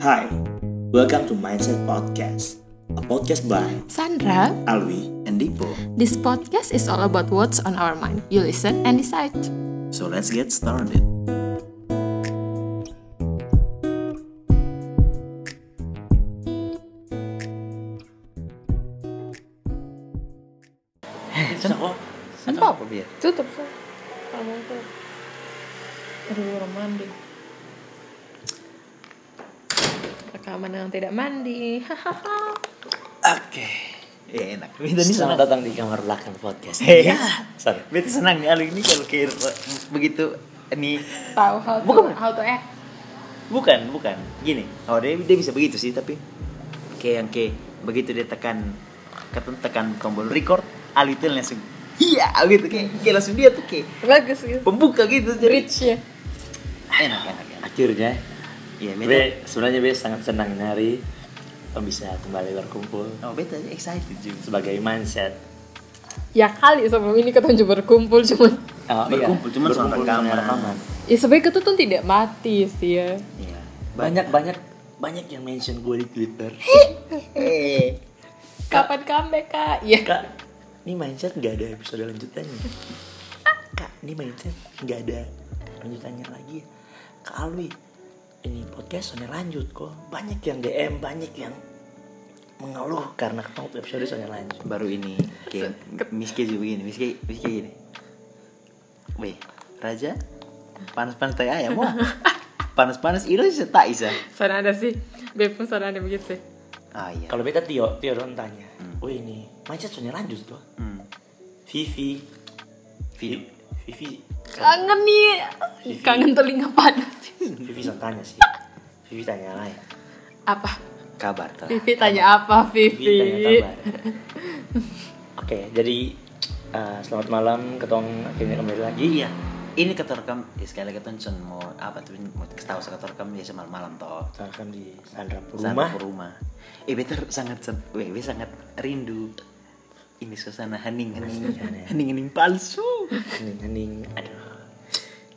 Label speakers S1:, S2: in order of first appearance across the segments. S1: Hi, welcome to Mindset Podcast, a podcast by
S2: Sandra,
S1: Alwi.
S3: and Dipo.
S2: this podcast is all about what's on our mind. You listen and decide.
S3: So let's get started.
S2: Sempap.
S3: biar?
S2: Tutup. Aduh, orang mandi. Rekaman yang tidak mandi. Hahaha.
S3: Oke. Ya
S4: Eh,
S3: enak. Beta ini senang.
S4: Selamat datang di kamar belakang podcast.
S3: Hei.
S4: Sorry.
S3: Beta senang nih Alwi ini kalau kayak begitu ini
S2: Tahu how to
S3: Bukan.
S2: how to act.
S3: bukan bukan gini. Oh dia dia bisa begitu sih tapi kayak yang kayak begitu dia tekan ketem- tekan tombol record Alwi itu langsung iya gitu kayak, kayak langsung dia tuh kayak
S2: Bagus gitu.
S3: pembuka gitu jadi
S2: Rich ya.
S3: enak enak enak.
S4: Akhirnya,
S3: Iya, beta.
S4: Be, sebenarnya Be sangat senang ini hari oh, bisa kembali berkumpul
S3: Oh, beta excited juga.
S4: sebagai mindset.
S2: Ya kali sebelum ini ketemu berkumpul cuman
S4: Oh,
S3: iya. Berkumpul, cuman soal rekaman.
S2: ya sebenarnya ketemu tidak mati sih ya.
S3: Iya.
S4: Banyak banyak banyak yang mention gue di Twitter.
S3: Eh.
S2: Kapan comeback kak? Iya.
S4: Kak, ini mindset nggak ada episode lanjutannya. Kak, ini mindset nggak ada lanjutannya lagi. Kak Alwi, ini podcast soalnya lanjut kok. Banyak yang DM, banyak yang mengeluh karena ketemu episode soalnya lanjut.
S3: baru ini kayak miskin juga begini miskin miskin gini weh raja panas-panas tai ayam mau panas-panas itu sih tak isa
S2: Sana ada sih. Beb pun sana ada begitu sih.
S3: ah iya
S4: Kalau beta Tio, Tio dong tanya. Oh ini, mindset soalnya lanjut kok.
S3: hmm.
S4: Vivi,
S3: Vi-
S4: Vivi,
S2: Kangen nih. Kangen telinga panas.
S4: Vivi tanya sih. Vivi tanya ya. lain.
S2: Apa?
S3: kabar tuh
S2: Vivi tanya apa
S4: Vivi tanya
S2: Vivi?
S4: kabar. Oke, jadi eh, selamat malam, ketong akhirnya kembali lagi.
S3: iya ini kata rekam ya, sekali lagi tuh cuman mau apa tuh mau ketahui saya kata rekam biasa malam-malam toh
S4: Akan di Sandra
S3: rumah
S4: Puruma.
S3: rumah eh better sangat sen- weh weh sangat rindu ini suasana hening hening hening hening palsu
S4: Hening-hening, aduh.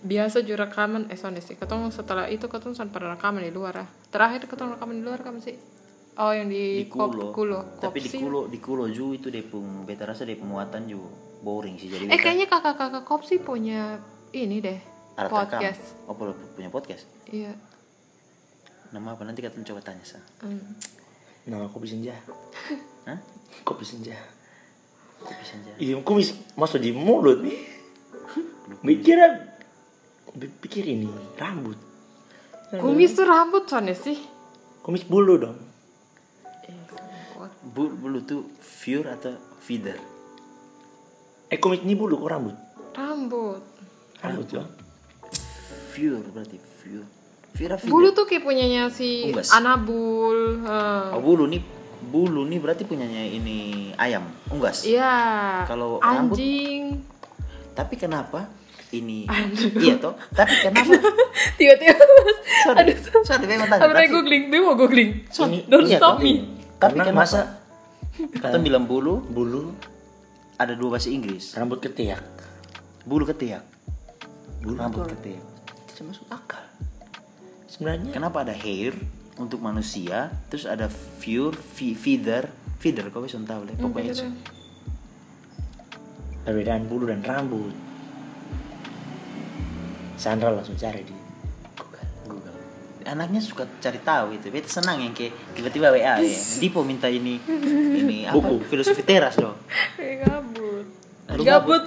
S2: Biasa ju rekaman eh soalnya sih. Ketong setelah itu ketong san pernah rekaman di luar ah. Terakhir ketong rekaman di luar kapan sih? Oh yang
S3: di
S2: di,
S3: kulo,
S2: Kop- kulo.
S3: tapi di
S2: Kopsi.
S3: kulo di kulo ju itu dia pun beta rasa dia penguatan ju boring sih jadi
S2: Eh
S3: beta
S2: kayaknya kakak-kakak kopsi punya ini deh
S3: ada terekam.
S2: podcast.
S3: oh perlu punya podcast
S2: Iya.
S3: nama apa nanti kata coba tanya sa
S2: Hmm.
S4: Nama kopi senja.
S3: Hah?
S4: Kopi senja.
S3: kopi senja
S4: Iya, kumis masuk di mulut. Mikirnya, pikir ini rambut.
S2: Kumis tuh rambut soalnya sih.
S4: Kumis bulu dong.
S3: Bu, bulu tuh viewer atau feeder
S4: Eh kumis ini bulu kok rambut?
S2: Rambut.
S4: Rambut dong.
S3: viewer berarti viewer viewer feeder
S2: Bulu tuh kayak punyanya si
S3: Unggas.
S2: Anabul. eh.
S3: oh, bulu nih bulu nih berarti punyanya ini ayam unggas
S2: Iya.
S3: Kalau rambut-
S2: anjing.
S3: tapi kenapa ini iya toh tapi kenapa
S2: Tiba-tiba.
S3: sorry sorry saya mau tanya
S2: Apa
S3: tapi-
S2: googling? Dia mau googling.
S4: Ini-
S2: Don't
S3: iya
S2: stop
S3: toh.
S2: me.
S3: tapi
S4: Karena
S3: kenapa
S4: masa kan
S3: Kita bilang bulu
S4: bulu
S3: ada dua bahasa Inggris.
S4: rambut ketiak?
S3: Bulu ketiak. Bulu rambut ketiak. Tidak masuk akal.
S4: Sebenarnya
S3: Kenapa ada hair untuk manusia, terus ada fur, fi- feather, feather kau bisa tahu lah pokoknya itu.
S4: perbedaan bulu dan rambut. Sandra langsung cari di Google.
S3: Google. Anaknya suka cari tahu itu. Beta senang yang kayak tiba-tiba WA ya. Dipo minta ini ini apa?
S4: Buku.
S3: Filosofi teras dong.
S2: Kayak "Eh, gabut.
S3: Aduh,
S2: Gabut.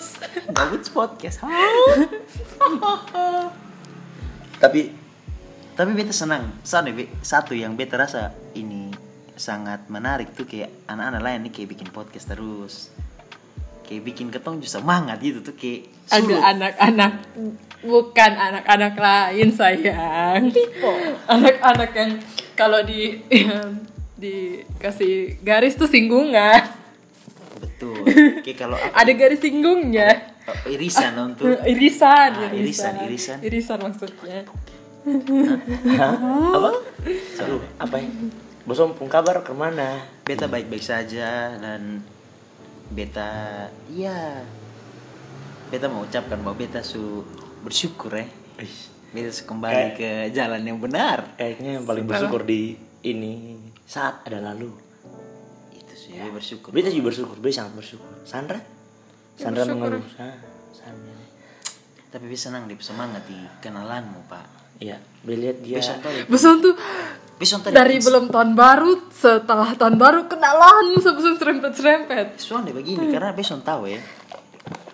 S3: Gabut podcast. tapi tapi beta senang. Soalnya Be, satu yang beta rasa ini sangat menarik tuh kayak anak-anak lain nih kayak bikin podcast terus. Kayak bikin ketong juga semangat gitu tuh kayak
S2: Ada anak-anak bukan anak-anak lain sayang. Anak-anak yang kalau di dikasih garis tuh singgungan.
S3: Betul. Kayak kalau apa?
S2: Ada garis singgungnya.
S3: oh, irisan untuk
S2: Irisan,
S3: Ah, irisan, irisan.
S2: Irisan maksudnya.
S4: Apa? Aduh, apa ya? Bosom pun kabar kemana?
S3: beta baik-baik saja dan beta iya. ya beta mau ucapkan bahwa beta su bersyukur ya
S4: Ih,
S3: Beta harus kembali
S4: Eh.
S3: ke jalan yang benar.
S4: Kayaknya yang paling
S2: Setelah-
S4: bersyukur di ini saat ada lalu.
S3: Itu sih, beta bersyukur.
S4: Beta juga bersyukur, beta sangat bersyukur. Sandra?
S2: Ya,
S4: Sandra
S2: bersyukur.
S4: mengeluh. Sa- Sandra.
S3: Tapi beta senang di semangat di kenalanmu, Pak.
S4: Iya, beta lihat dia.
S3: Besok tadi.
S2: Besan tuh
S3: Besok tadi.
S2: dari belum tahun baru setelah tahun baru kenalan sebesar serempet serempet.
S3: Soalnya
S2: Hmm.
S3: begini, karena besok tahu ya.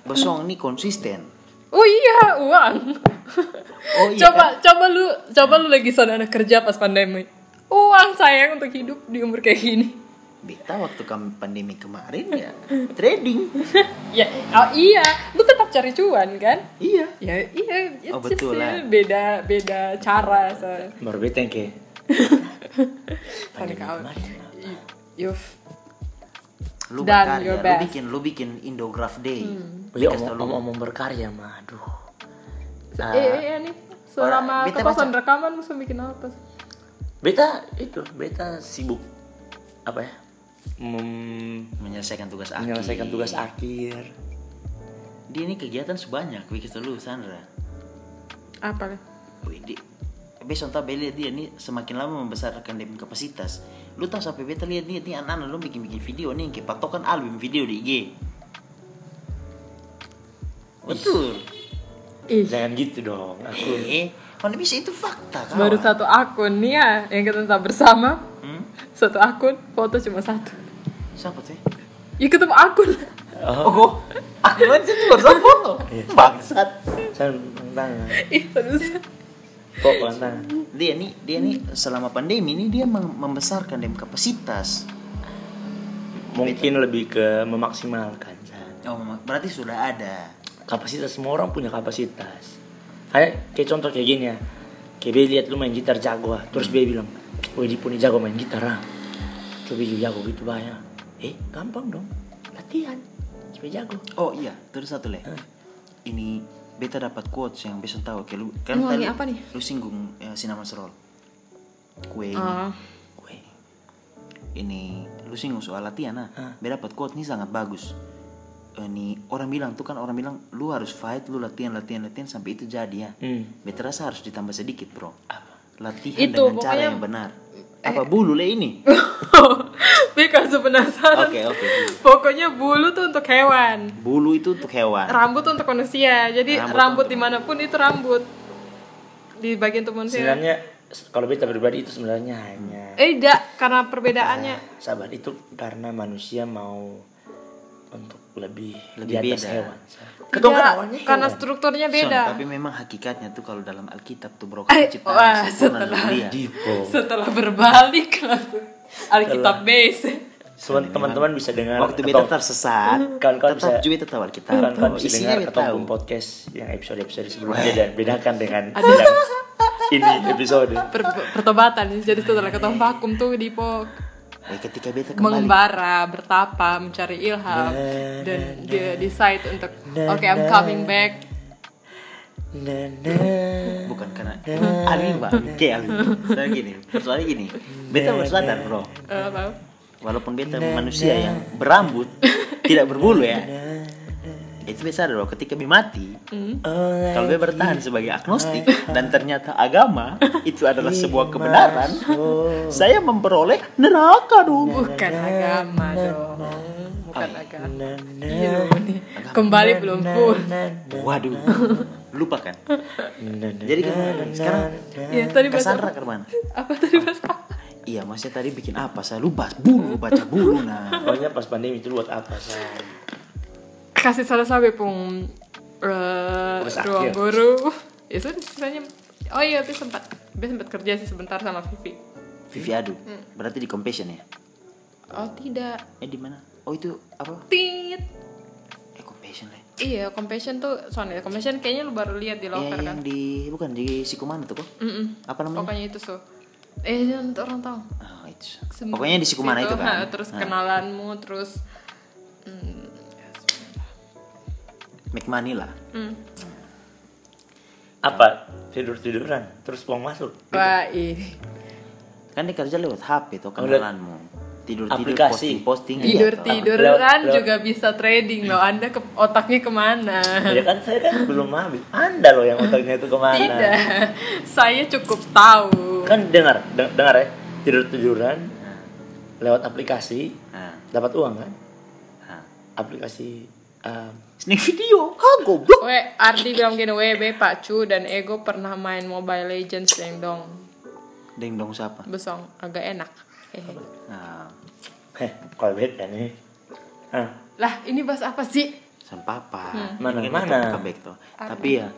S3: Besok ini konsisten.
S2: Oh iya uang.
S3: Oh iya.
S2: coba coba lu coba lu lagi sana anak kerja pas pandemi. Uang sayang untuk hidup di umur kayak gini.
S3: Beta waktu kam- pandemi kemarin ya trading.
S2: Ya oh iya lu tetap cari cuan kan?
S3: iya.
S2: Ya iya it's
S3: Oh,
S2: just,
S3: betul
S2: ya,
S3: lah.
S2: beda beda cara so.
S4: Baru beta yang kayak
S2: Panik out. Y- Yuf.
S3: Lu
S2: Done
S3: berkarya,
S2: your
S3: lu
S2: best.
S3: bikin lu bikin Indograph Day.
S2: Hmm.
S3: Iya,
S4: Beta omong, omong berkarya mah, aduh. Ah,
S2: eh, eh, eh, nih
S3: Nah.
S2: selama
S3: Orang- beta
S2: kekosan rekaman musuh bikin apa?
S4: beta itu, beta sibuk apa ya? Mem-
S3: Menyelesaikan tugas akhir.
S4: menyelesaikan tugas akhir.
S3: Dia ini kegiatan sebanyak, bikin lu Sandra.
S2: Apa lah?
S3: Wih, di besok tak beli dia ini semakin lama membesarkan dia punya kapasitas. Lu tahu sampai beta lihat dia nih anak-anak lu bikin bikin video nih yang kayak patokan album video di IG. Betul.
S2: Ih.
S4: Jangan gitu dong, aku.
S3: Eh, mana bisa itu fakta kawan.
S2: Baru satu akun nih ya yang kita tetap bersama.
S3: Hmm?
S2: Satu akun, foto cuma satu.
S3: Siapa tuh? eh?
S2: Ya ketemu akun.
S3: Oh, oh. aku kan sih baru sama foto. Bangsat.
S4: Saya tangan.
S2: Ih, terus.
S4: Kok tangan?
S3: Dia nih, dia nih selama pandemi ini dia mem- membesarkan dia punya kapasitas.
S4: Mungkin lebih ke memaksimalkan. Sa.
S3: Oh, memang- berarti sudah ada.
S4: Kapasitas semua orang punya kapasitas. Kayak kayak contoh kayak gini ya. Kayak Be lihat lu main gitar jago ah. Terus Be bilang, "Woi, di pun jago main gitar ah." Coba juga jago gitu banyak. Eh, gampang dong. Latihan. Coba jago.
S3: Oh iya, terus satu leh. Ini beta dapat quotes yang besok tahu kayak lu kan
S2: Lu ngomongin apa nih?
S3: Lu singgung eh, cinnamon roll. Kue ini.
S2: Ah,
S3: Kue. Ini lu singgung soal latihan nah. Beta dapat quote ini sangat bagus. Eh, Ini orang bilang tuh kan orang bilang lu harus fight, lu latihan latihan latihan sampai itu jadi ya.
S4: Hmm.
S3: Beta rasa harus ditambah sedikit, Bro. Latihan
S2: Itu,
S3: dengan cara
S2: pokoknya- eh.
S3: yang benar. Apa bulu le ini?
S2: Bika langsung penasaran.
S3: Oke, oke.
S2: Pokoknya bulu tuh untuk hewan,
S3: Bulu itu untuk hewan.
S2: rambut tuh untuk manusia. Jadi
S3: Rambut
S2: rambut,
S3: untuk-
S2: dimanapun itu rambut. Di bagian tubuh manusia.
S4: Sebenarnya kalau beta pribadi itu sebenarnya hanya
S2: Eh, tidak, karena perbedaannya.
S4: sabar itu karena manusia mau untuk lebih,
S3: Lebih
S4: di atas
S3: beda.
S4: hewan. Sa. Ketua kan
S2: Tidak,
S4: awalnya
S2: karena
S4: hewan.
S2: strukturnya
S3: Son,
S2: beda.
S3: tapi memang hakikatnya tuh kalau dalam Alkitab tuh bro
S2: Eh,
S3: ciptaan
S2: wah,
S3: sempurna
S2: setelah-
S3: dari dia.
S4: Dipo.
S2: Setelah berbalik langsung Alkitab base.
S4: Semen- teman-teman bisa
S3: Kan
S4: dengar
S3: Iya. Waktu beta
S4: atau
S3: tersesat,
S4: Kawan-kawan
S3: tetap
S4: bisa-
S3: juga beta tahu Alkitab.
S4: kawan-kawan bisa
S3: Isinya
S4: dengar
S3: beta
S4: atau
S3: tahu.
S4: podcast yang episode-episode sebelumnya dan bedakan dengan yang ini episode.
S2: Per- pertobatan jadi setelah ketemu vakum tuh Dipo
S3: Eh, ketika beta kembali,
S2: mengembara bertapa mencari ilham dan dia decide untuk oke I'm coming back
S4: Na, na.
S3: bukan karena Ali bang, kayak Ali. Soalnya gini, soalnya gini, beta baru sadar bro.
S2: Eh, apa?
S3: Walaupun beta
S4: Nah,
S3: manusia yang berambut, tidak berbulu ya.
S4: nah.
S3: Itu beta sadar bro, ketika beta mati,
S4: Oh,
S3: kalau beta bertahan sebagai agnostik
S4: Nah,
S3: dan ternyata agama itu adalah sebuah kebenaran, saya memperoleh neraka dong.
S4: Nah,
S2: bukan agama dong bukan agama
S4: na, na,
S2: Iya loh, ini kembali belum full
S4: na,
S3: Waduh,
S4: nah,
S3: lupakan.
S4: na, na.
S3: Jadi kemana? Sekarang
S2: ya tadi bahasa
S3: Cassandra kemana?
S2: apa tadi bahasa
S3: Iya, maksudnya tadi bikin apa? Saya lupa bulu, baca bulu nah.
S4: Pokoknya pas pandemi itu buat apa sih?
S2: kasih salah sampai pung eh,
S4: Terus
S2: ruang
S4: akhir.
S2: guru itu istilahnya oh iya tapi sempat dia sempat kerja sih sebentar sama Vivi
S3: Vivi Adu,
S2: Hmm.
S3: berarti di compassion ya?
S2: oh tidak
S3: Eh di mana? Oh itu apa?
S2: tit
S3: Eh compassion lah.
S2: Iya, compassion tuh soalnya compassion kayaknya lu baru lihat di
S3: Iya
S2: locker kan.
S3: yang di bukan di Sikumana tuh kok?
S2: Mm-mm.
S3: Apa namanya?
S2: Pokoknya itu so. Eh, jangan untuk orang tahu.
S3: Ah, itu.
S2: Sem-
S3: Pokoknya di Sikumana
S2: situ,
S3: itu
S2: ha,
S3: kan.
S2: terus
S3: Nah,
S2: kenalanmu, terus mm, ya, sebenarnya.
S3: McMahon lah.
S5: hmm,
S2: Mm.
S3: Gitu.
S4: Apa? Tidur-tiduran terus uang masuk.
S2: Wah, ih.
S3: Kan dia kerja lewat HP tuh
S4: Oh, lewat-
S3: kenalanmu. Iya, tidur tidur
S4: Aplikasi.
S3: posting posting
S5: tidur tiduran
S4: Lewat- lewat-
S5: juga bisa trading loh anda ke, otaknya kemana
S4: Ya kan saya kan belum habis. Anda loh yang otaknya itu kemana?
S5: tidak saya cukup tahu
S4: Kan dengar, deng- dengar ya. Tidur tiduran lewat aplikasi
S3: Nah,
S4: dapat uang kan?
S3: nah.
S4: Aplikasi um,
S3: Sneak video, ha goblok.
S5: we Ardi bilang gini WB Pacu dan Ego pernah main Mobile Legends deng dong
S3: Deng dong siapa?
S5: besong agak enak Eh. Hehe.
S3: Nah,
S4: heh, call back kan nih. Ah,
S5: lah ini bahas apa sih
S3: san
S2: Hmm.
S3: papa.
S4: Mana-
S3: Ingin
S4: mana?
S3: tetap comeback tuh. Tapi ya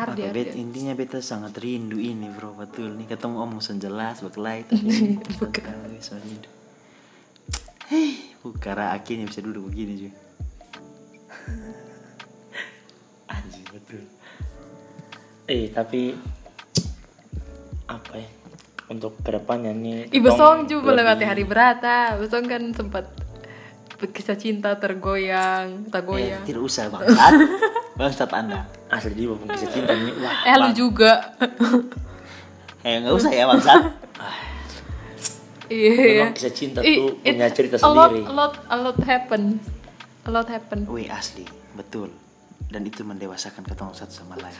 S5: Ardi,
S3: apa,
S5: Ardi,
S3: bet,
S5: Ardi.
S3: intinya beta sangat rindu ini bro betul nih ketemu om sen jelas berkelai tapi santai, soalnya hidup. eh, Hei, bukara akhirnya bisa duduk begini cuy.
S4: anjing betul. Eh, tapi apa ya? Untuk kedepannya nih.
S5: Ih
S4: Tong
S5: Besong juga
S4: lebih-
S5: melewati hari berat ah. Besong kan sempat kisah cinta tergoyang,
S3: Eh,
S5: tak goyang.
S3: tidak usah bangsat. bangsat Anda.
S4: Asli dia belum kisah cinta nih. Wah,
S5: Eh lu juga.
S3: Eh, nggak usah ya bangsat.
S5: Iya.
S4: Memang kisah cinta
S5: Ih,
S4: tuh punya
S5: it's
S4: cerita
S5: a lot,
S4: sendiri.
S5: A lot, a lot happen. A lot happen.
S3: Wih asli, betul. Dan itu mendewasakan ketemu satu sama lain.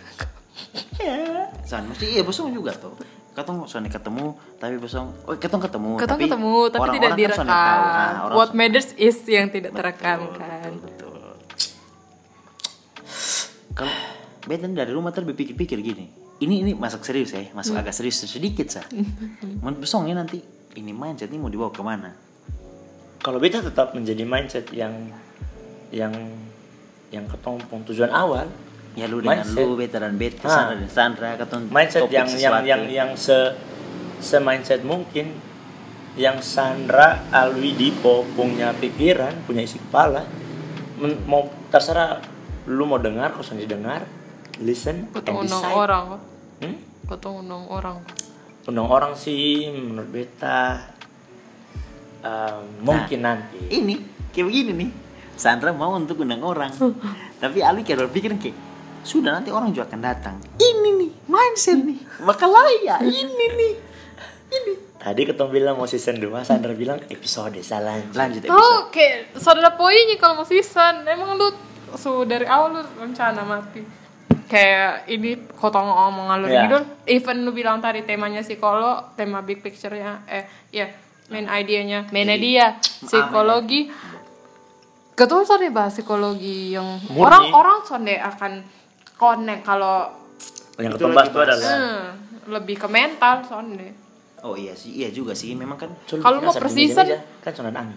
S3: San, mesti iya besong juga tuh. Ketemu soalnya ketemu, tapi besong, oh ketemu ketemu.
S5: Ketemu ketemu tapi
S3: orang-orang
S5: tidak
S3: kan
S5: direkam.
S3: soalnya tahu. Nah, orang-
S5: What matters is yang tidak
S3: Betul,
S5: terekam kan.
S3: Betul. betul. Kalau beda dari rumah terlebih pikir-pikir gini. Ini ini masuk serius ya, masuk agak serius sedikit sah. Menurut besongnya ya nanti ini mindset ini mau dibawa kemana?
S4: kalau beta tetap menjadi mindset yang yang yang ketompong tujuan awal
S3: Ya lu dengan
S4: Mindset.
S3: lu, beta dan beta,
S4: Ah.
S3: Sandra dan Sandra, ketemu
S4: mindset
S3: topik
S4: yang yang
S3: sesuatu.
S4: yang yang se se mindset mungkin yang Sandra Alwi Dipo punya pikiran punya isi kepala Men- mau terserah lu mau dengar kau sendiri dengar listen and
S5: Ketemu nong
S4: decide
S5: orang.
S4: Hmm?
S5: Ketemu nong orang.
S4: undang orang sih menurut beta eh, mungkin
S3: Nah.
S4: nanti
S3: ini kayak begini nih Sandra mau untuk undang orang tapi Ali kayak berpikir kayak sudah nanti orang juga akan datang ini nih mindset nih bakal layak ini nih
S4: tadi ketemu bilang mau season 2 Sandra bilang episode salah
S3: lanjut episode
S5: Tuh kayak Oh, saudara poinnya kalau mau season emang lu so dari awal lu rencana mati kayak ini kotong ngomong ngalur
S4: Iya.
S5: ngidul even lu bilang tadi temanya psikolo tema big picture-nya eh ya main idenya main idea psikologi Ketua sonde bahas psikologi yang
S4: Murni.
S5: orang-orang sonde akan connect kalau
S4: yang
S3: Itu
S4: ketebak
S3: lagi
S4: itu adalah
S5: eh, lebih ke mental sonde
S3: oh iya sih iya juga sih memang kan
S5: Kalau mau persisten-
S4: kan sonan angin.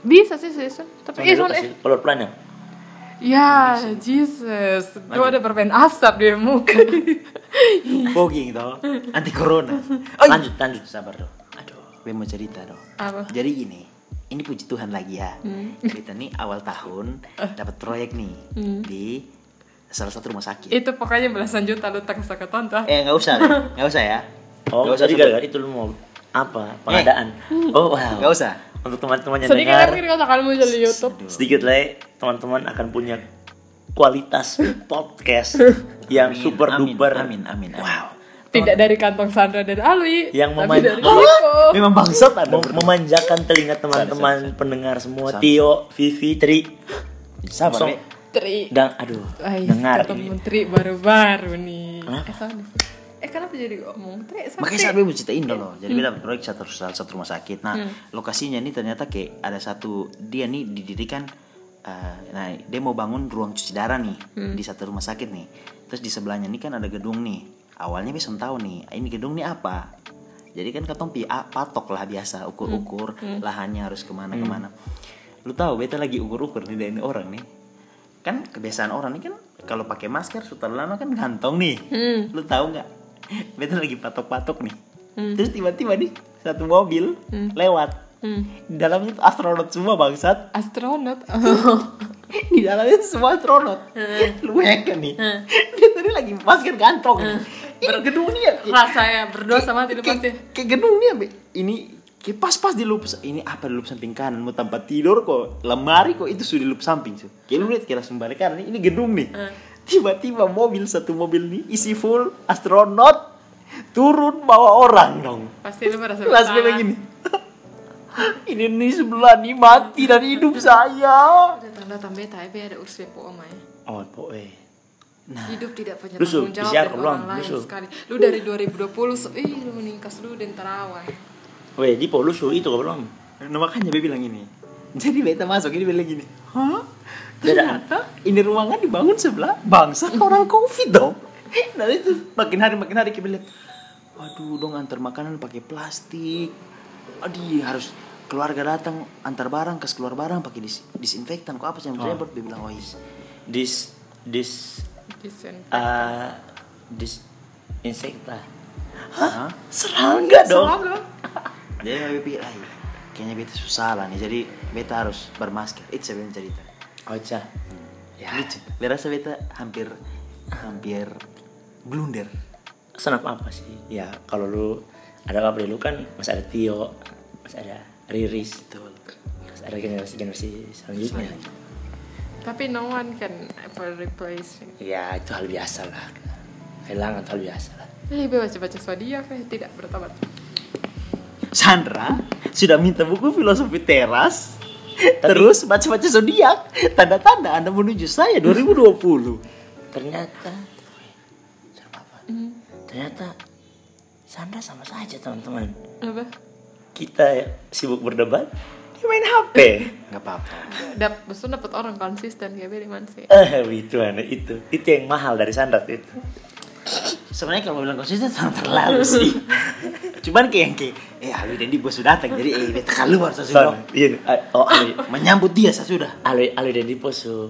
S5: bisa sih season tapi eh, sonde
S4: Kalau plan ya.
S5: Ya, Jesus. Gue ada permen asap di muka.
S3: fogging toh anti corona
S4: Lanjut, lanjut.
S3: sabar dong aduh gue mau cerita dong
S5: Apa? Hmm.
S3: jadi gini ini puji Tuhan lagi ya kita nih awal tahun
S5: Eh.
S3: dapat proyek nih di salah satu rumah sakit
S5: Hmm. Itu pokoknya belasan juta lu tak kesal tonton.
S3: eh nggak usah deh. nggak usah ya
S4: Oh,
S3: Nggak usah
S4: jadi
S3: sebut.
S4: gara-gara itu lu mau apa? Pengadaan. Oh, wow.
S3: Nggak usah.
S4: Untuk teman-teman yang
S5: Sedikit kan
S4: dengar,
S5: kira
S3: gitu?
S5: kata kalian mau jadi YouTube.
S4: sedikit lah ya, teman-teman akan punya kualitas podcast yang
S3: Amin,
S4: super
S3: amin,
S4: duper.
S3: amin amin amin.
S4: Wow.
S5: Tidak dari kantong Sandra dan Alwi.
S4: Yang
S5: tapi
S4: memain-
S5: dari Kiko.
S3: memang bangsat ada
S4: Mem- memanjakan telinga teman-teman pendengar semua Tio, Vivi, Tri,
S3: sabar
S4: Song.
S3: Be.
S5: Tri.
S4: dan aduh,
S5: Ay,
S4: dengar
S5: ketemu
S4: ini.
S5: Tri baru-baru nih.
S4: Kenapa?
S5: Eh, sorry. Eh, kenapa jadi ngomong Tri? sorry,
S3: makanya
S5: Tri.
S3: saya mau ceritain dulu jadi beda proyek satu salah satu rumah sakit nah lokasinya ini ternyata kayak ada satu dia nih didirikan eh, nah dia mau bangun ruang cuci darah nih di satu rumah sakit nih terus di sebelahnya ini kan ada gedung nih awalnya besok tahu nih ini gedung nih apa jadi kan katong pia patok lah biasa ukur ukur lahannya harus kemana kemana lu tahu beta lagi ukur ukur nih dari orang nih kan kebiasaan orang nih kan kalau pakai masker sudah lama kan gantong nih lu tahu nggak beta lagi patok-patok nih terus tiba-tiba nih satu mobil lewat di dalamnya tuh astronot semua bangsat
S5: Astronot.
S3: di dalamnya tuh semua astronot lu heck nih dia tadi lagi masker gantong nih ini gedung nih ya
S5: Rasanya berdua sama tidak
S3: kayak,
S5: pasti.
S3: kayak gedung nih Be. ini kayak pas-pas di lup ini apa di lup samping kanan mau tempat tidur kok lemari kok itu sudah di lup samping tuh kayak lu lihat kayak langsung balik
S5: Eh.
S3: kanan ini gedung nih tiba-tiba mobil satu mobil nih isi full astronot
S4: turun bawa orang dong
S5: Pasti lu merasa
S4: Kelas
S5: bersalah.
S4: bilang gini Ini nih sebelah nih mati dari hidup saya
S5: Ada tanda tambah tapi ada uswe po omai.
S4: Oh poe
S5: Hidup tidak punya
S4: Lu su,
S5: tanggung jawab
S4: siar
S5: dari
S4: keluar,
S5: orang
S4: lu
S5: lain
S4: su.
S5: sekali. Lu dari 2020, so, ih lu meningkas lu dan terawai.
S4: Weh di polusu itu kok belum
S3: Nah, makanya dia bilang gini. Jadi beta masuk ini bilang gini. Hah?
S4: Beda.
S3: Ternyata ini ruangan dibangun sebelah bangsa orang covid dong. Nah itu makin hari makin hari kita lihat. Waduh dong antar makanan pakai plastik. Adi harus keluarga datang antar barang kas keluar barang pakai dis- disinfektan kok apa sih yang repot dia bilang oh is
S4: Dis Dis
S5: Desain.
S4: ah Dis Insekta
S3: Hah?
S4: Serangga dong
S5: Serangga.
S3: jadi gue pikir "Ay, kayaknya beta susah lah nih jadi beta harus bermasker itu saya bilang cerita
S4: Oca Ya
S3: lucu berasa beta hampir hampir blunder
S4: Senap apa sih Ya kalau lu Ada apa lu kan Masih ada Tio Masih ada Riris
S3: betul
S4: Masih ada generasi-generasi selanjutnya
S5: Tapi no one can ever replace.
S4: Ya itu hal biasa lah Kehilangan hal biasa lah
S5: Eh, gue baca-baca zodiak eh tidak bertobat.
S3: Sandra sudah minta buku filosofi teras terus baca-baca zodiak tanda-tanda anda menuju saya 2020
S4: ternyata Serba apa? ternyata Sandra sama saja teman-teman
S5: Apa?
S4: kita sibuk berdebat dia main HP
S3: nggak apa-apa
S5: Dap, besok dapat orang konsisten kayak beli man sih.
S4: eh itu aneh itu itu yang mahal dari Sandra tuh itu
S3: sebenarnya kalau bilang konsisten sangat terlalu sih cuman kayak yang kayak eh Alwi dan Dibo sudah datang jadi eh beta keluar saya sudah
S4: Son, iya nih. A- oh Alwi
S3: menyambut dia saya sudah
S4: Alwi Alwi dan Dipo su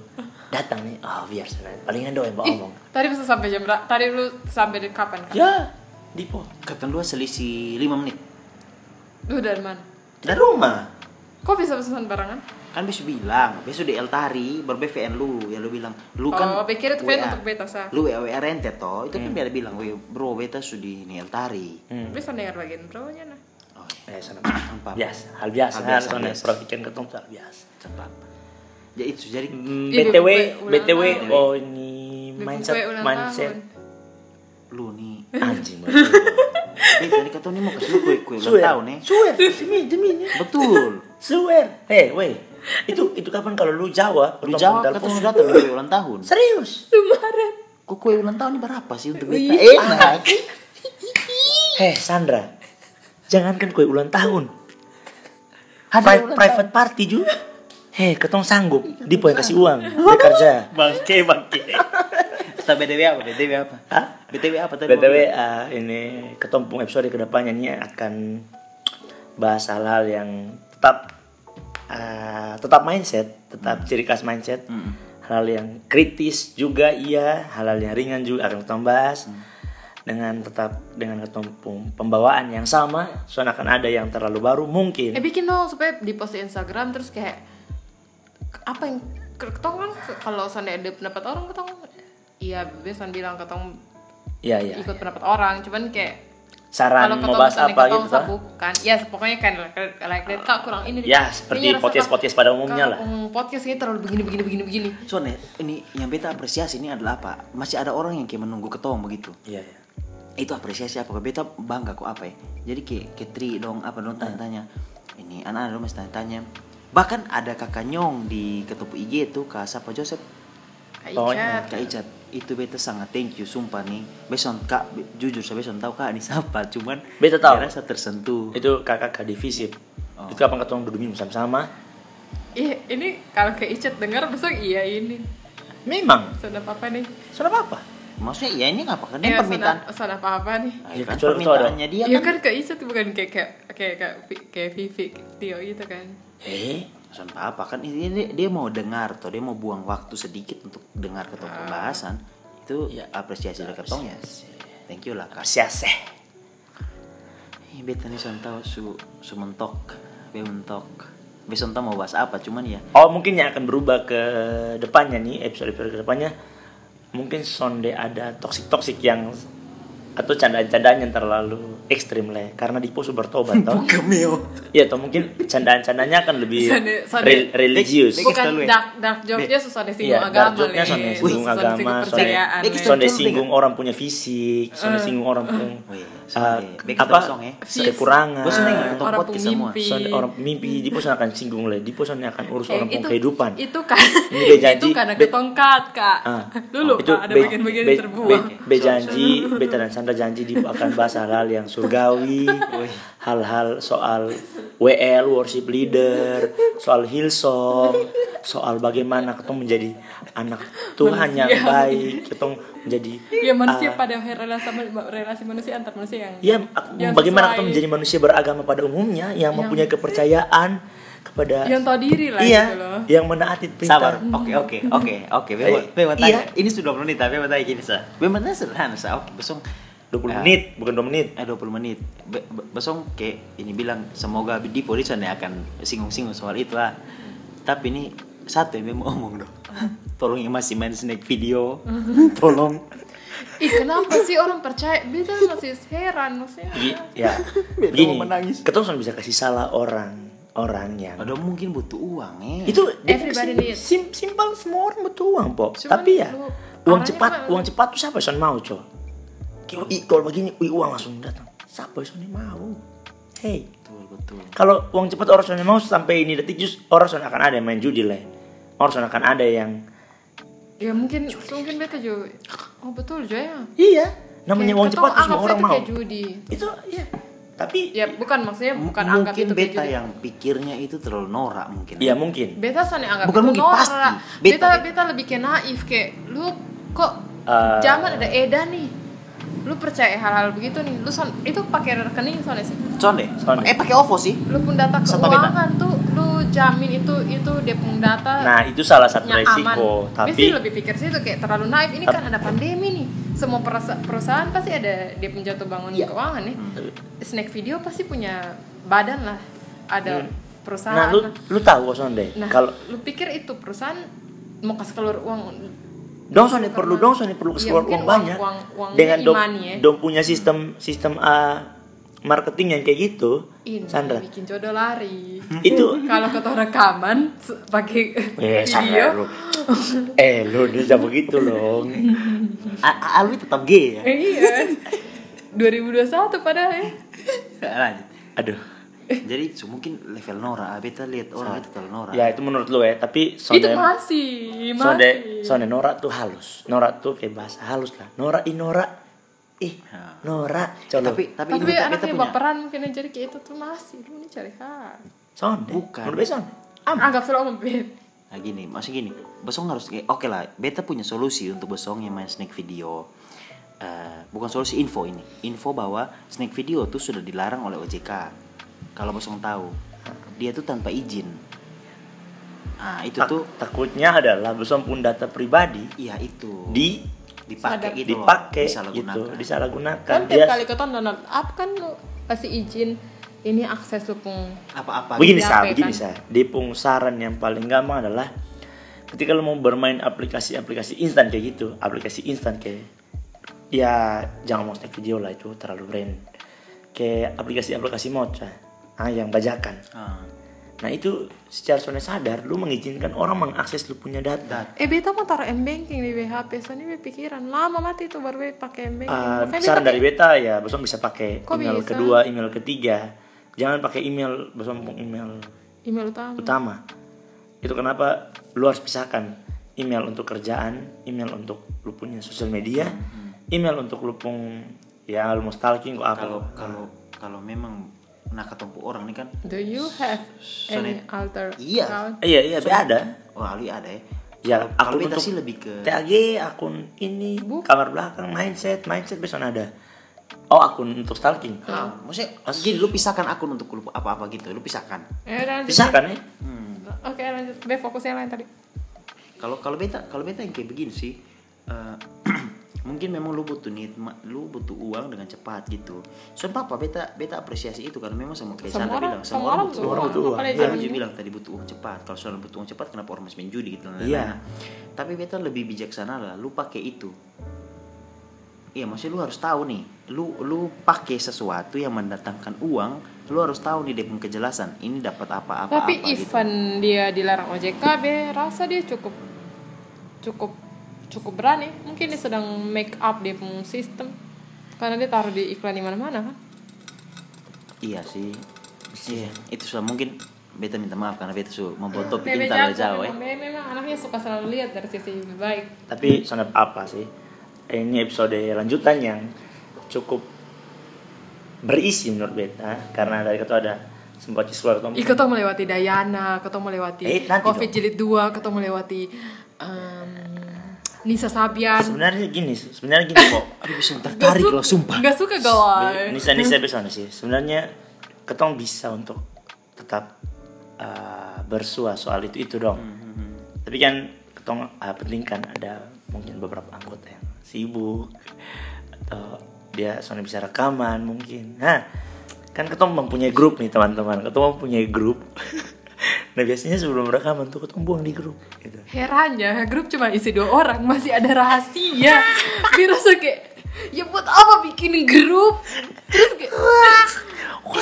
S4: datang nih oh biar sana palingan doang yang mau
S5: Ih,
S4: ngomong
S5: tadi bisa sampai jam berapa? Tadi lu sampai di kapan kan?
S4: ya Dipo
S3: ketentuan selisih 5 menit
S5: Lu dari mana?
S3: dari rumah
S5: Kok bisa pesan barangan?
S3: kan besok bilang besok di Eltari berbvn lu ya lu bilang lu
S5: Oh,
S3: kan
S5: pikir itu VN untuk beta, Sa.
S3: lu WA WA rente toh itu kan biar bilang "Weh, bro beta sudah di Eltari
S4: hmm.
S5: Bisa dengar bagian bro nya nah.
S3: oh iya.
S4: eh sana
S3: Apa?
S4: biasa hal
S3: Hal biasa,
S4: biasa hal biasa,
S3: hal biasa.
S4: ketemu hal biasa
S3: Cepat. ya itu jadi
S4: Hmm,
S5: Ih,
S4: BTW,
S5: Bebe ulang
S4: BTW,
S5: tahun.
S4: oh ini
S5: Bebe
S4: mindset,
S5: gue ulang
S4: mindset,
S5: tahun.
S3: lu nih Gitu.
S4: anjing.
S3: Beb, tadi kata nih mau kasih lu kue kue ulang
S4: Suwer,
S3: tahun eh. nih
S4: suwer, demi demi,
S3: betul
S4: suwer. Hei, weh, itu itu kapan kalau lu jawab,
S3: lu jawab kata lu datang kue ulang tahun
S4: Serius?
S5: Kemarin.
S3: kok kue ulang tahun ini berapa sih untuk beta Ah, gitu.
S4: Iya.
S3: enak
S4: Hei, Sandra, jangankan kue ulang tahun,
S3: Hari
S4: pri-
S3: ulang
S4: private party juga. Hei, ketong sanggup, Dipo yang kasih uang, dia kerja. Bangke, bangke.
S3: kita btw apa btw apa
S4: Hah?
S3: btw apa tadi
S4: BTW ah, ini ketompung episode kedepannya ini akan bahas hal-hal yang tetap ah, tetap mindset, tetap ciri khas mindset, hal-hal yang kritis juga iya, hal-hal yang ringan juga akan kita bahas dengan tetap dengan ketompung pembawaan yang sama, soalnya akan ada yang terlalu baru
S5: Eh
S3: Iya.
S4: mungkin.
S5: bikin dong supaya di post di Instagram terus kayak ke- apa yang ke- ketong kan ke- kalau sana ada pendapat orang ketong iya biasa bilang ketong
S4: Iya iya.
S3: Ya,
S5: ikut pendapat orang cuman kayak
S4: Saran mau
S5: ketong
S4: bahas
S5: misalnya
S4: apa
S5: ketong
S4: gitu tah?
S5: sabukan ya pokoknya kan like, like that kak kurang ini
S4: Ya,
S5: Kak.
S4: seperti
S5: Ini rasa
S4: podcast-podcast
S5: Kak,
S4: pada umumnya
S5: Kak,
S4: lah.
S5: mm, podcast ini terlalu begini begini begini begini
S3: Soalnya ini yang beta apresiasi ini adalah apa? Masih ada orang yang kayak menunggu ketong begitu.
S4: Iya iya.
S3: Itu apresiasi apa? Beta bangga kok apa ya? Jadi kayak kayak Tri dong apa dong tanya-tanya. Ini anak-anak dong masih tanya-tanya. Bahkan ada kakak nyong di ketupu IG itu Kak siapa Joseph
S5: Kak
S4: Pokoknya,
S5: Icat.
S3: Kak Icat itu beta sangat thank you sumpah nih beson kak be- jujur saya beson tahu kak ini siapa cuman
S4: Beta tahu.
S3: dia rasa tersentuh
S4: Itu kakak divisi. Itu kapan ketemu duduk minum sama-sama?
S5: Ih, ini kalau kayak Icat dengar besok iya ini
S4: Memang.
S5: sudah apa nih
S4: Sudah apa?
S3: maksudnya ya ini apa kan
S5: Eh,
S3: dia permintaan
S5: sudah apa apa nih
S3: Ah,
S4: Ya,
S3: kan
S4: kecuali ketua dong.
S3: permintaannya dia
S5: Iya
S3: kan
S5: kan Kak Icat bukan kayak kayak kayak kayak, kayak Vivi kayak Tio gitu kan
S4: Eh,
S3: Pesan apa kan ini ini- dia, mau dengar atau dia mau buang waktu sedikit untuk dengar ketong pembahasan itu
S4: Ya,
S3: apresiasi dari ketong ya thank you lah kak
S4: siaseh.
S3: Ih, beta nih son tau su su mentok be mentok be son tau mau bahas apa cuman ya
S4: Oh, mungkin yang akan berubah ke depannya nih, episode-episode ke depannya. Mungkin sonde ada toksik-toksik yang atau candaan-candaan yang terlalu ekstrim lah ya. karena Dipo sudah bertobat tau
S3: Gemil.
S4: Iya atau mungkin candaan-candaannya akan lebih
S5: Sane- sane-
S4: rel- religius.
S3: Dek-
S5: Bukan
S3: Kita lu ya?
S5: dark, dark joke-nya susah
S4: Iya,
S5: disinggung agama ya.
S4: dark joke-nya
S5: Le.
S4: sonde singgung
S5: Susah disinggung
S4: agama, sonde- Iya,
S5: percayaan,
S3: Dek,
S5: iya. Le.
S3: kita-
S4: Sonde
S3: Betul,
S4: singgung orang punya fisik,
S5: Eh.
S4: sonde singgung orang punya
S3: Oh iya,
S4: ah,
S3: sonde. Baik, kita
S4: apa
S3: kosong ya.
S4: kekurangan.
S3: Gue seneng ya. nonton
S5: Orang
S3: podcast semua.
S5: pemimpi.
S4: Sonde orang mimpi, Dipo sana akan singgung lah. Dipo sana akan urus
S5: Eh,
S4: orang punya
S5: itu-
S4: kehidupan.
S5: Itu kan
S4: Ini dia
S5: itu
S4: janji,
S5: karena
S4: be-
S5: ketongkat kak.
S4: Ah,
S5: Dulu
S4: itu
S5: Kak, ada
S4: be-
S5: bagian-bagian
S4: be-
S5: terbuang.
S4: be- be janji, beta dan Sandra janji Dipo akan bahas hal-hal yang surgawi, hal-hal soal WL worship leader, soal Hillsong, soal bagaimana kita menjadi anak Tuhan yang
S5: Manusia.
S4: baik, kita menjadi
S5: ya manusia
S4: ah,
S5: pada relasi relasi manusia antar manusia yang
S4: Ya, ak-
S5: Yang
S4: bagaimana kita
S5: sesuai.
S4: menjadi manusia beragama pada umumnya yang, mempunyai kepercayaan kepada
S5: yang tahu diri lah
S4: iya,
S5: gitu loh.
S4: yang menaati
S3: Sabar.
S4: perintah.
S3: Oke oke oke oke.
S4: Eh,
S3: Bema bema
S4: iya.
S3: tanya. Ini sudah 20 menit tapi bema tanya gini sa. Bema tanya sederhana sa. Oke besok
S4: 20
S3: eh,
S4: menit, bukan 2 menit.
S3: Eh 20 menit. Be- be- Besok kayak ini bilang semoga di polisi akan singgung-singgung soal itu lah. Tapi ini satu yang bema omong dong. Tolong yang masih main snack video. Tolong.
S5: Ih kenapa sih orang percaya? Beta masih heran maksudnya.
S4: Gi- ya,
S3: Beta
S4: begini.
S3: mau menangis.
S4: Kita langsung bisa kasih salah orang orang yang
S3: Ada mungkin butuh uang eh.
S4: itu
S5: Everybody
S4: dia-
S5: needs.
S4: sim, simpel semua orang butuh uang po.
S5: Cuman
S4: Tapi ya
S5: lu-
S4: uang
S5: arahnya
S4: cepat,
S5: mana?
S4: uang cepat tuh siapa yang mau cow? Kalau i- kalau begini, wih, uang langsung datang. Siapa yang mau? Hey,
S3: betul betul.
S4: kalau uang cepat orang soalnya mau sampai ini detik just orang soalnya akan ada yang main judi lah. Orang soalnya akan ada yang
S5: Ya mungkin mungkin beta juga. Oh betul juga ya.
S4: iya namanya
S5: Kayak
S4: uang cepat tuh
S5: ketong-
S4: semua
S5: anggap
S4: orang
S5: itu
S4: mau.
S5: kayak judi.
S4: Itu iya. Tapi
S5: Ya bukan maksudnya bukan
S3: M-
S5: anggap
S3: mungkin
S5: itu kayak
S3: beta ya.
S5: judi.
S3: yang pikirnya itu terlalu norak mungkin.
S4: ya mungkin.
S5: Beta soalnya anggap
S3: Bukan
S5: itu
S3: mungkin,
S5: norak.
S3: pasti.
S5: Beta,
S3: Beta,
S5: beta,
S3: beta.
S5: lebih kayak naif kayak lu kok
S4: Eh.
S5: zaman ada edan nih. Lu percaya hal-hal begitu nih. Lu son, itu pakai rekening soalnya sih.
S3: Conde.
S4: Conde.
S3: Eh pakai OVO sih.
S5: Lu pun data
S4: Serta
S5: keuangan tuh lu jamin itu itu dia pun data
S4: Nah itu salah satu
S5: nya
S4: resiko.
S5: aman. Beta
S4: Tapi
S5: sih lebih pikir sih itu kayak terlalu naif. Ini kan ada pandemi nih. Semua perasa- perusahaan pasti ada dia pun jatuh bangun
S4: Iya.
S5: keuangan nih. Snack video pasti punya badan lah. Ada perusahaan.
S4: Nah, lu
S5: lah.
S4: lu tahu kok Sonde.
S5: Nah,
S4: Kalau
S5: lu pikir itu perusahaan mau kasih keluar uang
S4: dong Sonde perlu dong Sonde perlu
S5: Iya,
S4: keluar
S5: mungkin
S4: uang banyak
S5: uang- uang-
S4: dengan
S5: uangnya
S4: dom,
S5: imani ya.
S4: dom punya sistem sistem ah, marketing yang kayak gitu,
S5: ini
S4: Sandra. Hmm.
S5: bikin jodoh lari.
S4: Itu
S5: Kalau kata rekaman se- pakai
S4: eh Sandra lu.
S5: video.
S4: eh lu dia jangan begiito dong.
S3: A- A- Alwi tetap gay ya.
S5: Eh, iya. 2021 padahal ya.
S3: Nah, Lanjut.
S4: Aduh.
S3: Jadi so, mungkin level Nora, ah, beta lihat orang itu terlalu Nora.
S4: Ya itu menurut lu ya, tapi
S5: itu
S4: Sonde
S5: masih
S4: Sonde
S5: masih.
S4: Sonde Nora tuh halus. Nora tuh kayak bahasa halus lah. Nora i Nora ih
S3: Ha.
S4: Nora
S3: tapi,
S4: Coba
S3: tapi
S5: tapi,
S3: ini beta, beta
S5: anaknya
S3: punya.
S5: baperan mungkin yang jadi kayak itu tuh masih lu nih cari hal.
S4: Sonde
S3: Bukan.
S4: menurut gue Sonde Am.
S5: Anggap selalu beb.
S3: Nah gini, maksudnya gini, Besong harus kayak- oke lah, beta punya solusi untuk Besong yang main snack video. Eh, bukan solusi info ini, info bahwa snack video tuh sudah dilarang oleh OJK. Kalau Besong tahu, dia tuh tanpa izin. Nah itu
S4: Tak-
S3: tuh,
S4: takutnya adalah besok pun data pribadi
S3: iya itu
S4: di
S3: dipakai gitu loh,
S4: dipakai gitu
S3: disalahgunakan.
S4: disalahgunakan
S5: Kan
S4: dia
S5: tiap kali keton download app kan lu kasih izin ini akses lu pun
S3: Apa-apa. gitu.
S4: begini
S5: di
S4: sah
S5: HP
S4: begini
S5: kan.
S4: sah dipung saran yang paling gampang adalah ketika lo mau bermain aplikasi-aplikasi instan kayak gitu aplikasi instan kayak ya jangan mau snack video lah itu terlalu brand kayak aplikasi-aplikasi mocha ah yang bajakan
S3: Ah,
S4: nah itu secara sebenarnya sadar lu mengizinkan orang mengakses lu punya data
S5: Eh beta mau taruh m banking di HP, soalnya beta pikiran lama mati itu baru beta pakai m banking.
S3: Iya,
S4: Uh,
S5: Makanya
S4: saran
S5: beta
S4: dari beta ya besok bisa pakai
S5: Kok
S4: email
S5: bisa?
S4: kedua, email ketiga. Jangan pakai email besok mumpung email
S5: email
S3: Hmm.
S5: utama.
S4: utama. Itu kenapa lu harus pisahkan email untuk kerjaan, email untuk lu punya sosial media,
S3: Hmm.
S4: email untuk lu pung ya lu mau stalking kok apa.
S3: kalau kalau kalau memang nak ketemu orang nih kan
S5: Do you have any
S3: Sonet-
S5: alter
S3: Iya.
S5: account?
S4: Iya iya be ada.
S3: wah Ali ada ya
S4: Ya,
S3: Kalau-
S4: akun
S3: kalau beta
S4: untuk-
S3: sih lebih ke
S4: TAG akun ini
S5: Bu.
S4: kamar belakang mindset mindset besok ada. Oh akun untuk stalking.
S5: Iya.
S3: Ah, maksudnya gini lu pisahkan akun untuk lu apa-apa gitu lu pisahkan
S5: Eh lanjut.
S4: Pisahkan ya.
S5: Oke lanjut. Be fokusnya lain tadi.
S3: kalau kalau beta kalau beta yang kayak begini sih eh, mungkin memang lu butuh need ma- lu butuh uang dengan cepat gitu soalnya papa beta beta apresiasi itu karena memang sama kayak
S5: Semua
S3: Sandra
S5: orang-
S3: bilang
S5: semua orang butuh
S4: uang, apalagi
S3: Iya,
S5: zaman
S3: Ju
S5: ini.
S3: bilang tadi butuh uang cepat kalau soal butuh uang cepat kenapa orang masih main judi gitu dan
S4: Iya.
S3: lain-lain. tapi beta lebih bijaksana lah lu pakai itu iya maksudnya lu harus tahu nih lu lu pakai sesuatu yang mendatangkan uang lu harus tahu nih dia punya kejelasan ini dapat apa apa
S5: Tapi
S3: apa gitu.
S4: gitu.
S5: even dia dilarang OJK, be rasa dia cukup cukup cukup berani. Mungkin dia sedang make up dia punya sistem. Karena dia taruh di iklan di mana-mana kan.
S3: gitu iya sih iya itu sudah mungkin beta minta maaf karena beta su membuat topik ini
S5: Bebe
S3: terlalu
S5: jago,
S3: jauh ya
S4: eh.
S5: memang. Bebe memang anaknya suka selalu lihat dari sisi lebih baik.
S4: Tapi sonet apa sih? Ini episode lanjutan yang cukup berisi menurut beta karena dari itu ada sempat keluar
S5: Ih, ketemu melewati Dayana, ketemu melewati
S4: Eh, nanti
S5: Covid
S4: dong.
S5: jilid 2, ketemu melewati em, Nisa Sabian.
S4: Sebenarnya gini, sebenarnya gini kok.
S3: aduh bisa tertarik
S5: Nggak
S3: loh
S5: suka-
S3: sumpah
S5: nggak suka gawai.
S4: Nisa Nisa bisa sih. Sebenarnya ketong bisa untuk tetap uh, bersua soal itu itu dong. Tapi kan ketong uh, penting kan ada mungkin beberapa anggota yang sibuk atau dia soalnya bisa rekaman mungkin. Nah, kan ketong mempunyai grup nih teman-teman. Ketong mempunyai grup. nah biasanya sebelum rekaman tuh ketong buang di grup gitu.
S5: Herannya grup cuma isi dua orang masih ada rahasia. Virus kayak ya buat apa bikin grup? Terus kayak
S4: Wow,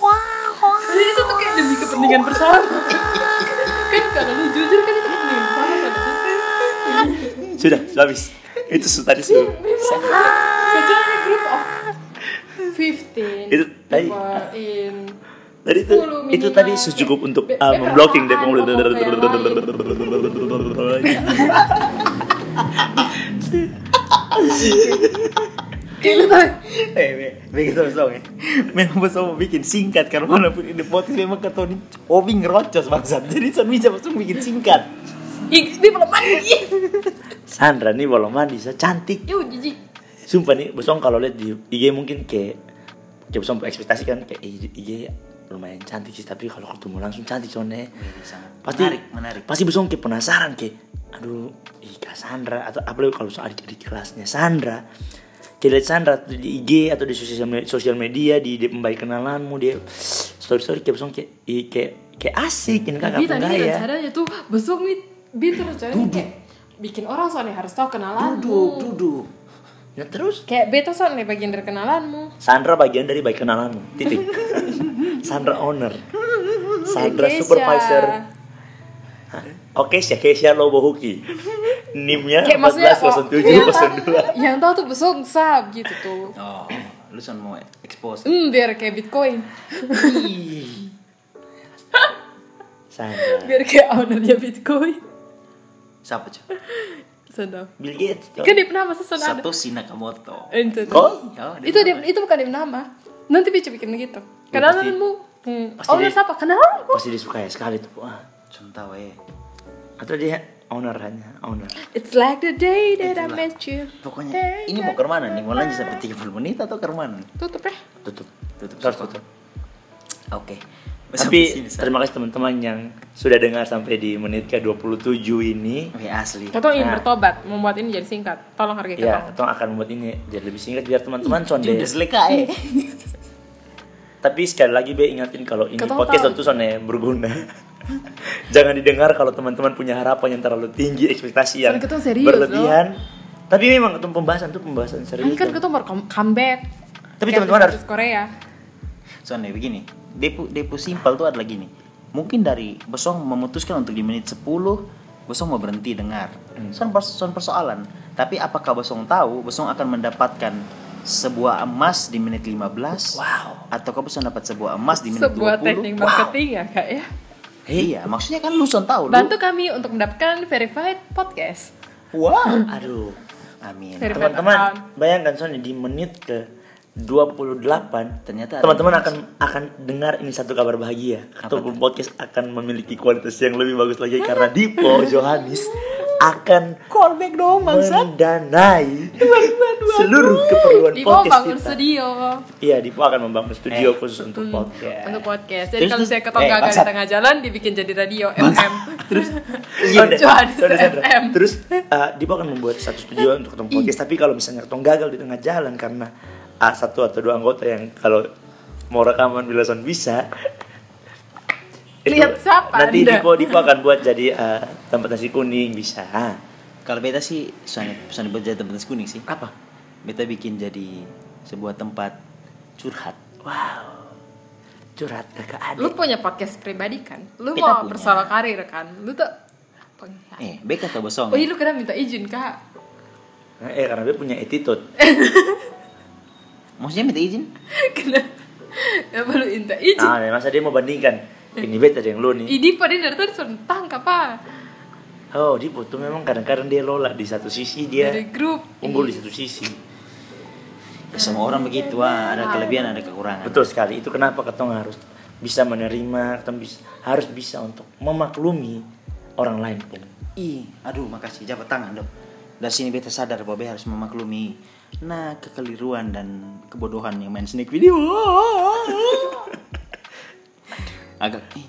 S4: wow, wow.
S5: jadi itu tuh kayak demi kepentingan bersama. kan kalau lu jujur kan itu kepentingan bersama sama
S4: Sudah, sudah habis. Itu su- tadi sudah.
S5: Kecuali grup oh. of 15
S4: Itu tadi.
S5: people in
S4: Tadi itu,
S5: 10
S4: itu tadi
S5: minimal.
S4: secukup untuk uh,
S5: Be- be- Ah,
S4: memblocking deh
S5: perasaan Kayak lu tau,
S4: Eh, begitu dong ya. Memang pas mau bikin singkat karena manapun ini podcast memang ketoni obing rocos bangsat. Jadi San bisa langsung bikin singkat.
S5: Ih, dia belum mandi
S4: Sandra nih belum mandi, Sa. cantik.
S5: Yuh, jijik
S4: Sumpah nih, besok kalau lihat di IG mungkin kayak kayak besok ekspektasi kan kayak "Ih, IG lumayan cantik sih tapi kalau ketemu langsung cantik soalnya pasti
S3: menarik menarik
S4: pasti besok kayak penasaran kayak aduh ih Kak Sandra atau apalagi kalau soal adik-adik kelasnya Sandra kayak liat Sandra tuh di IG atau di sosial me- sosial media di, di pembaik kenalanmu dia story story kayak besok kayak ih, kayak kayak asik ini kakak ya.
S5: Bi tadi
S4: penggaya
S5: rencananya tuh besok nih Bi tuh rencananya kayak bikin orang soalnya harus tahu kenalanmu.
S3: duduk duduk
S4: nah terus
S5: Kayak B tuh soalnya bagian dari kenalanmu.
S4: Sandra bagian dari baik kenalanmu titik Sandra owner Sandra
S5: Keisha.
S4: supervisor Hah? Oke, Keisha, Keisha Lobohuki. NIM-nya
S5: Kayak maksudnya Iya, yang tahu-
S4: 140702.
S5: Yang tahu tuh besok sab gitu tuh.
S3: oh lu son mau expose
S5: Hmm, biar kayak Bitcoin.
S4: Sandra.
S5: Biar kayak ownernya Bitcoin.
S3: siapa cuy
S5: Sedap.
S4: Bill Gates.
S5: Kan dia nama sesuatu ada.
S3: Satoshi Nakamoto
S5: Eh, Itu.
S4: Oh,
S3: Oh, dia
S5: itu dia,
S3: nama.
S5: itu bukan dia nama. Nanti bisa bikin gitu. Kenalanmu. Hmm.
S4: Iya, pasti
S5: Owner
S4: dia-
S5: siapa? Kenalanmu.
S4: pasti disukai sekali tuh Wah.
S3: Contoh eh
S4: atau dia owner hanya owner
S5: It's like the day that I met you.
S3: Pokoknya ini mau ke mana nih? Mau lanjut sampai 30 menit atau ke mana?
S5: Tutup ya.
S4: tutup
S3: Tutup
S4: Harus
S3: semua.
S4: tutup.
S3: Oke.
S4: tapi terima kasih teman-teman yang sudah dengar sampai di menit ke 27 ini
S3: kasih asli.
S5: Ketong ingin
S4: Nah.
S5: bertobat, membuat ini jadi singkat. Tolong hargai
S4: ya
S5: ketong.
S4: kita akan membuat ini jadi lebih singkat biar teman-teman
S5: Iya,
S4: sonde
S3: Udah seleka eh.
S4: tapi sekali lagi be ingatin kalau ini
S5: Ketong
S4: podcast
S5: tahu.
S4: tentu sonde berguna jangan didengar kalau teman-teman punya harapan yang terlalu tinggi ekspektasi yang
S5: Soalnya ketong serius,
S4: berlebihan tapi memang ketemu pembahasan tuh pembahasan serius
S5: Ini kan
S4: dong.
S5: ketong baru come- comeback.
S4: Tapi
S5: Kayak
S4: teman-teman
S5: artis-artis Korea.
S3: Soalnya begini, depu depu simpel tuh adalah gini. Mungkin dari Besong memutuskan untuk di menit 10 Besong mau berhenti dengar.
S4: Hmm.
S3: Soal perso- soal persoalan. Tapi apakah Besong tahu Besong akan mendapatkan sebuah emas di menit 15?
S4: Wow.
S3: Ataukah Besong dapat sebuah emas di menit
S5: Sebuah
S3: 20?
S5: teknik marketing ya kak ya.
S3: Iya, maksudnya kan lu son tahu. lu-
S5: Bantu kami untuk mendapatkan verified podcast.
S3: Wow.
S4: aduh
S3: Amin.
S5: Dari- Teman-teman.
S4: teman-teman bayangkan soalnya di menit ke 28
S3: Ternyata ada
S4: teman-teman
S3: yang-
S4: akan akan dengar ini satu kabar bahagia atau
S3: tuh?
S4: podcast akan memiliki kualitas yang lebih bagus lagi karena Dipo Johannes akan
S3: Callback dong,
S4: mendanai seluruh keperluan
S5: Di mau
S4: podcast
S5: bangun
S4: kita.
S5: studio
S4: Iya, Dipo akan membangun
S3: Eh.
S4: studio khusus untuk podcast.
S5: Hmm. untuk podcast. Jadi
S3: Terus-
S5: kalau saya ketong
S3: eh,
S5: gagal di
S3: bangsat.
S5: tengah jalan, dibikin jadi radio FM. Terus
S4: Iya, deh.
S5: Johannes
S4: Sorry, Sandra.
S5: FM.
S4: Terus eh, Dipo akan membuat satu studio
S5: Eh,
S4: untuk ketemu
S5: iya.
S4: podcast. Tapi kalau misalnya ketemu gagal di tengah jalan karena ah, satu atau dua anggota yang kalau mau rekaman bila son bisa. itu
S5: Lihat siapa
S4: Nanti
S5: Anda?
S4: Dipo, Dipo akan buat jadi eh, tempat nasi kuning bisa.
S3: Kalau beta sih soalnya soalnya buat jadi tempat nasi kuning sih.
S4: Apa?
S3: beta bikin jadi sebuah tempat curhat
S4: Wow. Curhat kakak
S5: Lu
S4: adik.
S5: punya podcast pribadi kan? Lu
S3: Kita
S5: mau
S3: punya.
S5: bersoal karir kan? Lu tuh pengkhianat.
S3: eh beka atau bosong
S5: Oh iya lu kena minta izin kak
S4: Nah, eh karena dia punya attitude.
S5: Eh,
S3: maksudnya minta izin
S5: Kena Kenapa lu minta izin?
S4: Nah, masa dia mau bandingkan.
S5: Eh.
S4: Ini beta dengan lu nih.
S5: Idi pada dari tadi suruh tangkap ah
S4: Oh, Dipo tuh memang kadang-kadang dia lola di satu sisi dia
S5: Dari grup
S4: unggul di satu sisi.
S3: Ya, semua orang begitu ah ada kelebihan ada kekurangan
S4: Betul sekali. Itu kenapa ketong harus bisa menerima, ketong bis- harus bisa untuk memaklumi orang lain pun.
S3: Ih, aduh makasih jabat tangan dok. Dari sini beta sadar bahwa beta harus memaklumi nah kekeliruan dan kebodohan yang main snake video. Agak eh,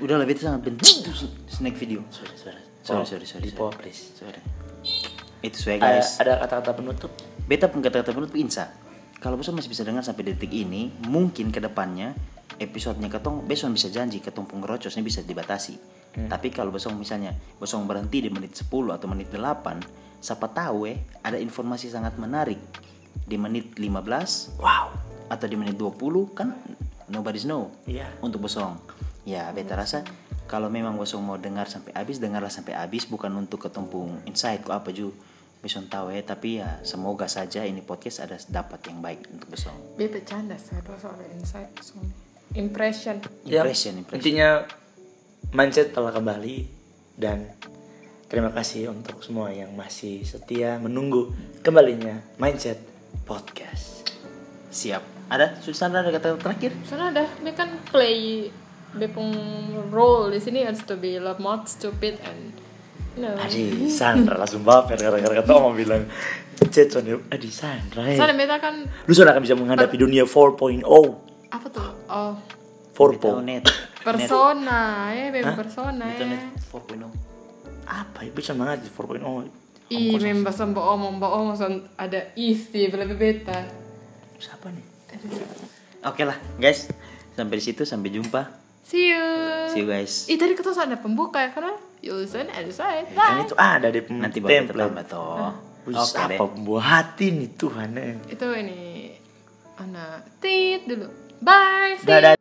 S3: udahlah beta sangat benci tuh snake video. Sorry, sorry, sorry, sorry, sorry.
S4: Di bawah, please.
S3: Sorry. Itu sudah
S4: Ada-
S3: guys.
S4: Ada kata-kata penutup?
S3: Beta pun kata-kata menurut Insa. Kalau bosan masih bisa dengar sampai detik ini, mungkin ke depannya episodenya ketong besok bisa janji ketong pengerocosnya bisa dibatasi. Tapi kalau besok misalnya besok berhenti di menit 10 atau menit 8, siapa tahu eh ada informasi sangat menarik di menit 15
S4: Wow.
S3: atau di menit 20 kan nobody's know
S4: Iya.
S3: untuk bosong ya beta rasa kalau memang bosong mau dengar sampai habis dengarlah sampai habis bukan untuk ketumpung insight kok apa ju besong tahu ya tapi ya semoga saja ini podcast ada dapat yang baik untuk besong
S5: Dia bercanda saya tuh soal insight soalnya. Impression
S4: Ya,
S3: impression impression
S4: Intinya mindset telah kembali dan terima kasih untuk semua yang masih setia menunggu kembalinya mindset podcast.
S3: siap ada susana ada kata terakhir
S5: Soalnya ada Dia kan play Bepung role di sini has to be a lot more stupid and you know.
S4: Adi Sandra langsung baper gara-gara kata Oma bilang chat Sony, Adi Sandra. eh."
S5: Soalnya beta kan
S4: Lu sudah akan bisa menghadapi dunia 4.0.
S5: apa tuh? Oh,
S3: Tahu
S4: 4.0.
S3: net
S5: persona ya, mem persona
S3: Net- itu
S5: ya.
S3: net 4.0
S4: Apa ya? Bisa menghadapi 4.0.
S5: I mem bahasa mbak omong mbak omong son- ada isi lebih beta.
S4: Siapa nih?
S3: oke lah guys sampai di situ sampai jumpa
S5: See you.
S3: see you guys
S5: Ih tadi kita ada pembuka ya karena you listen and decide.
S4: Kan
S5: Bye.
S4: itu ada di
S3: nanti bakal kita tambah
S4: template.
S3: toh
S4: Wih,
S3: oke deh
S4: apa buatin itu Tuhan eh.
S5: Itu ini anak tit dulu. Bye. See you.
S4: Dadah.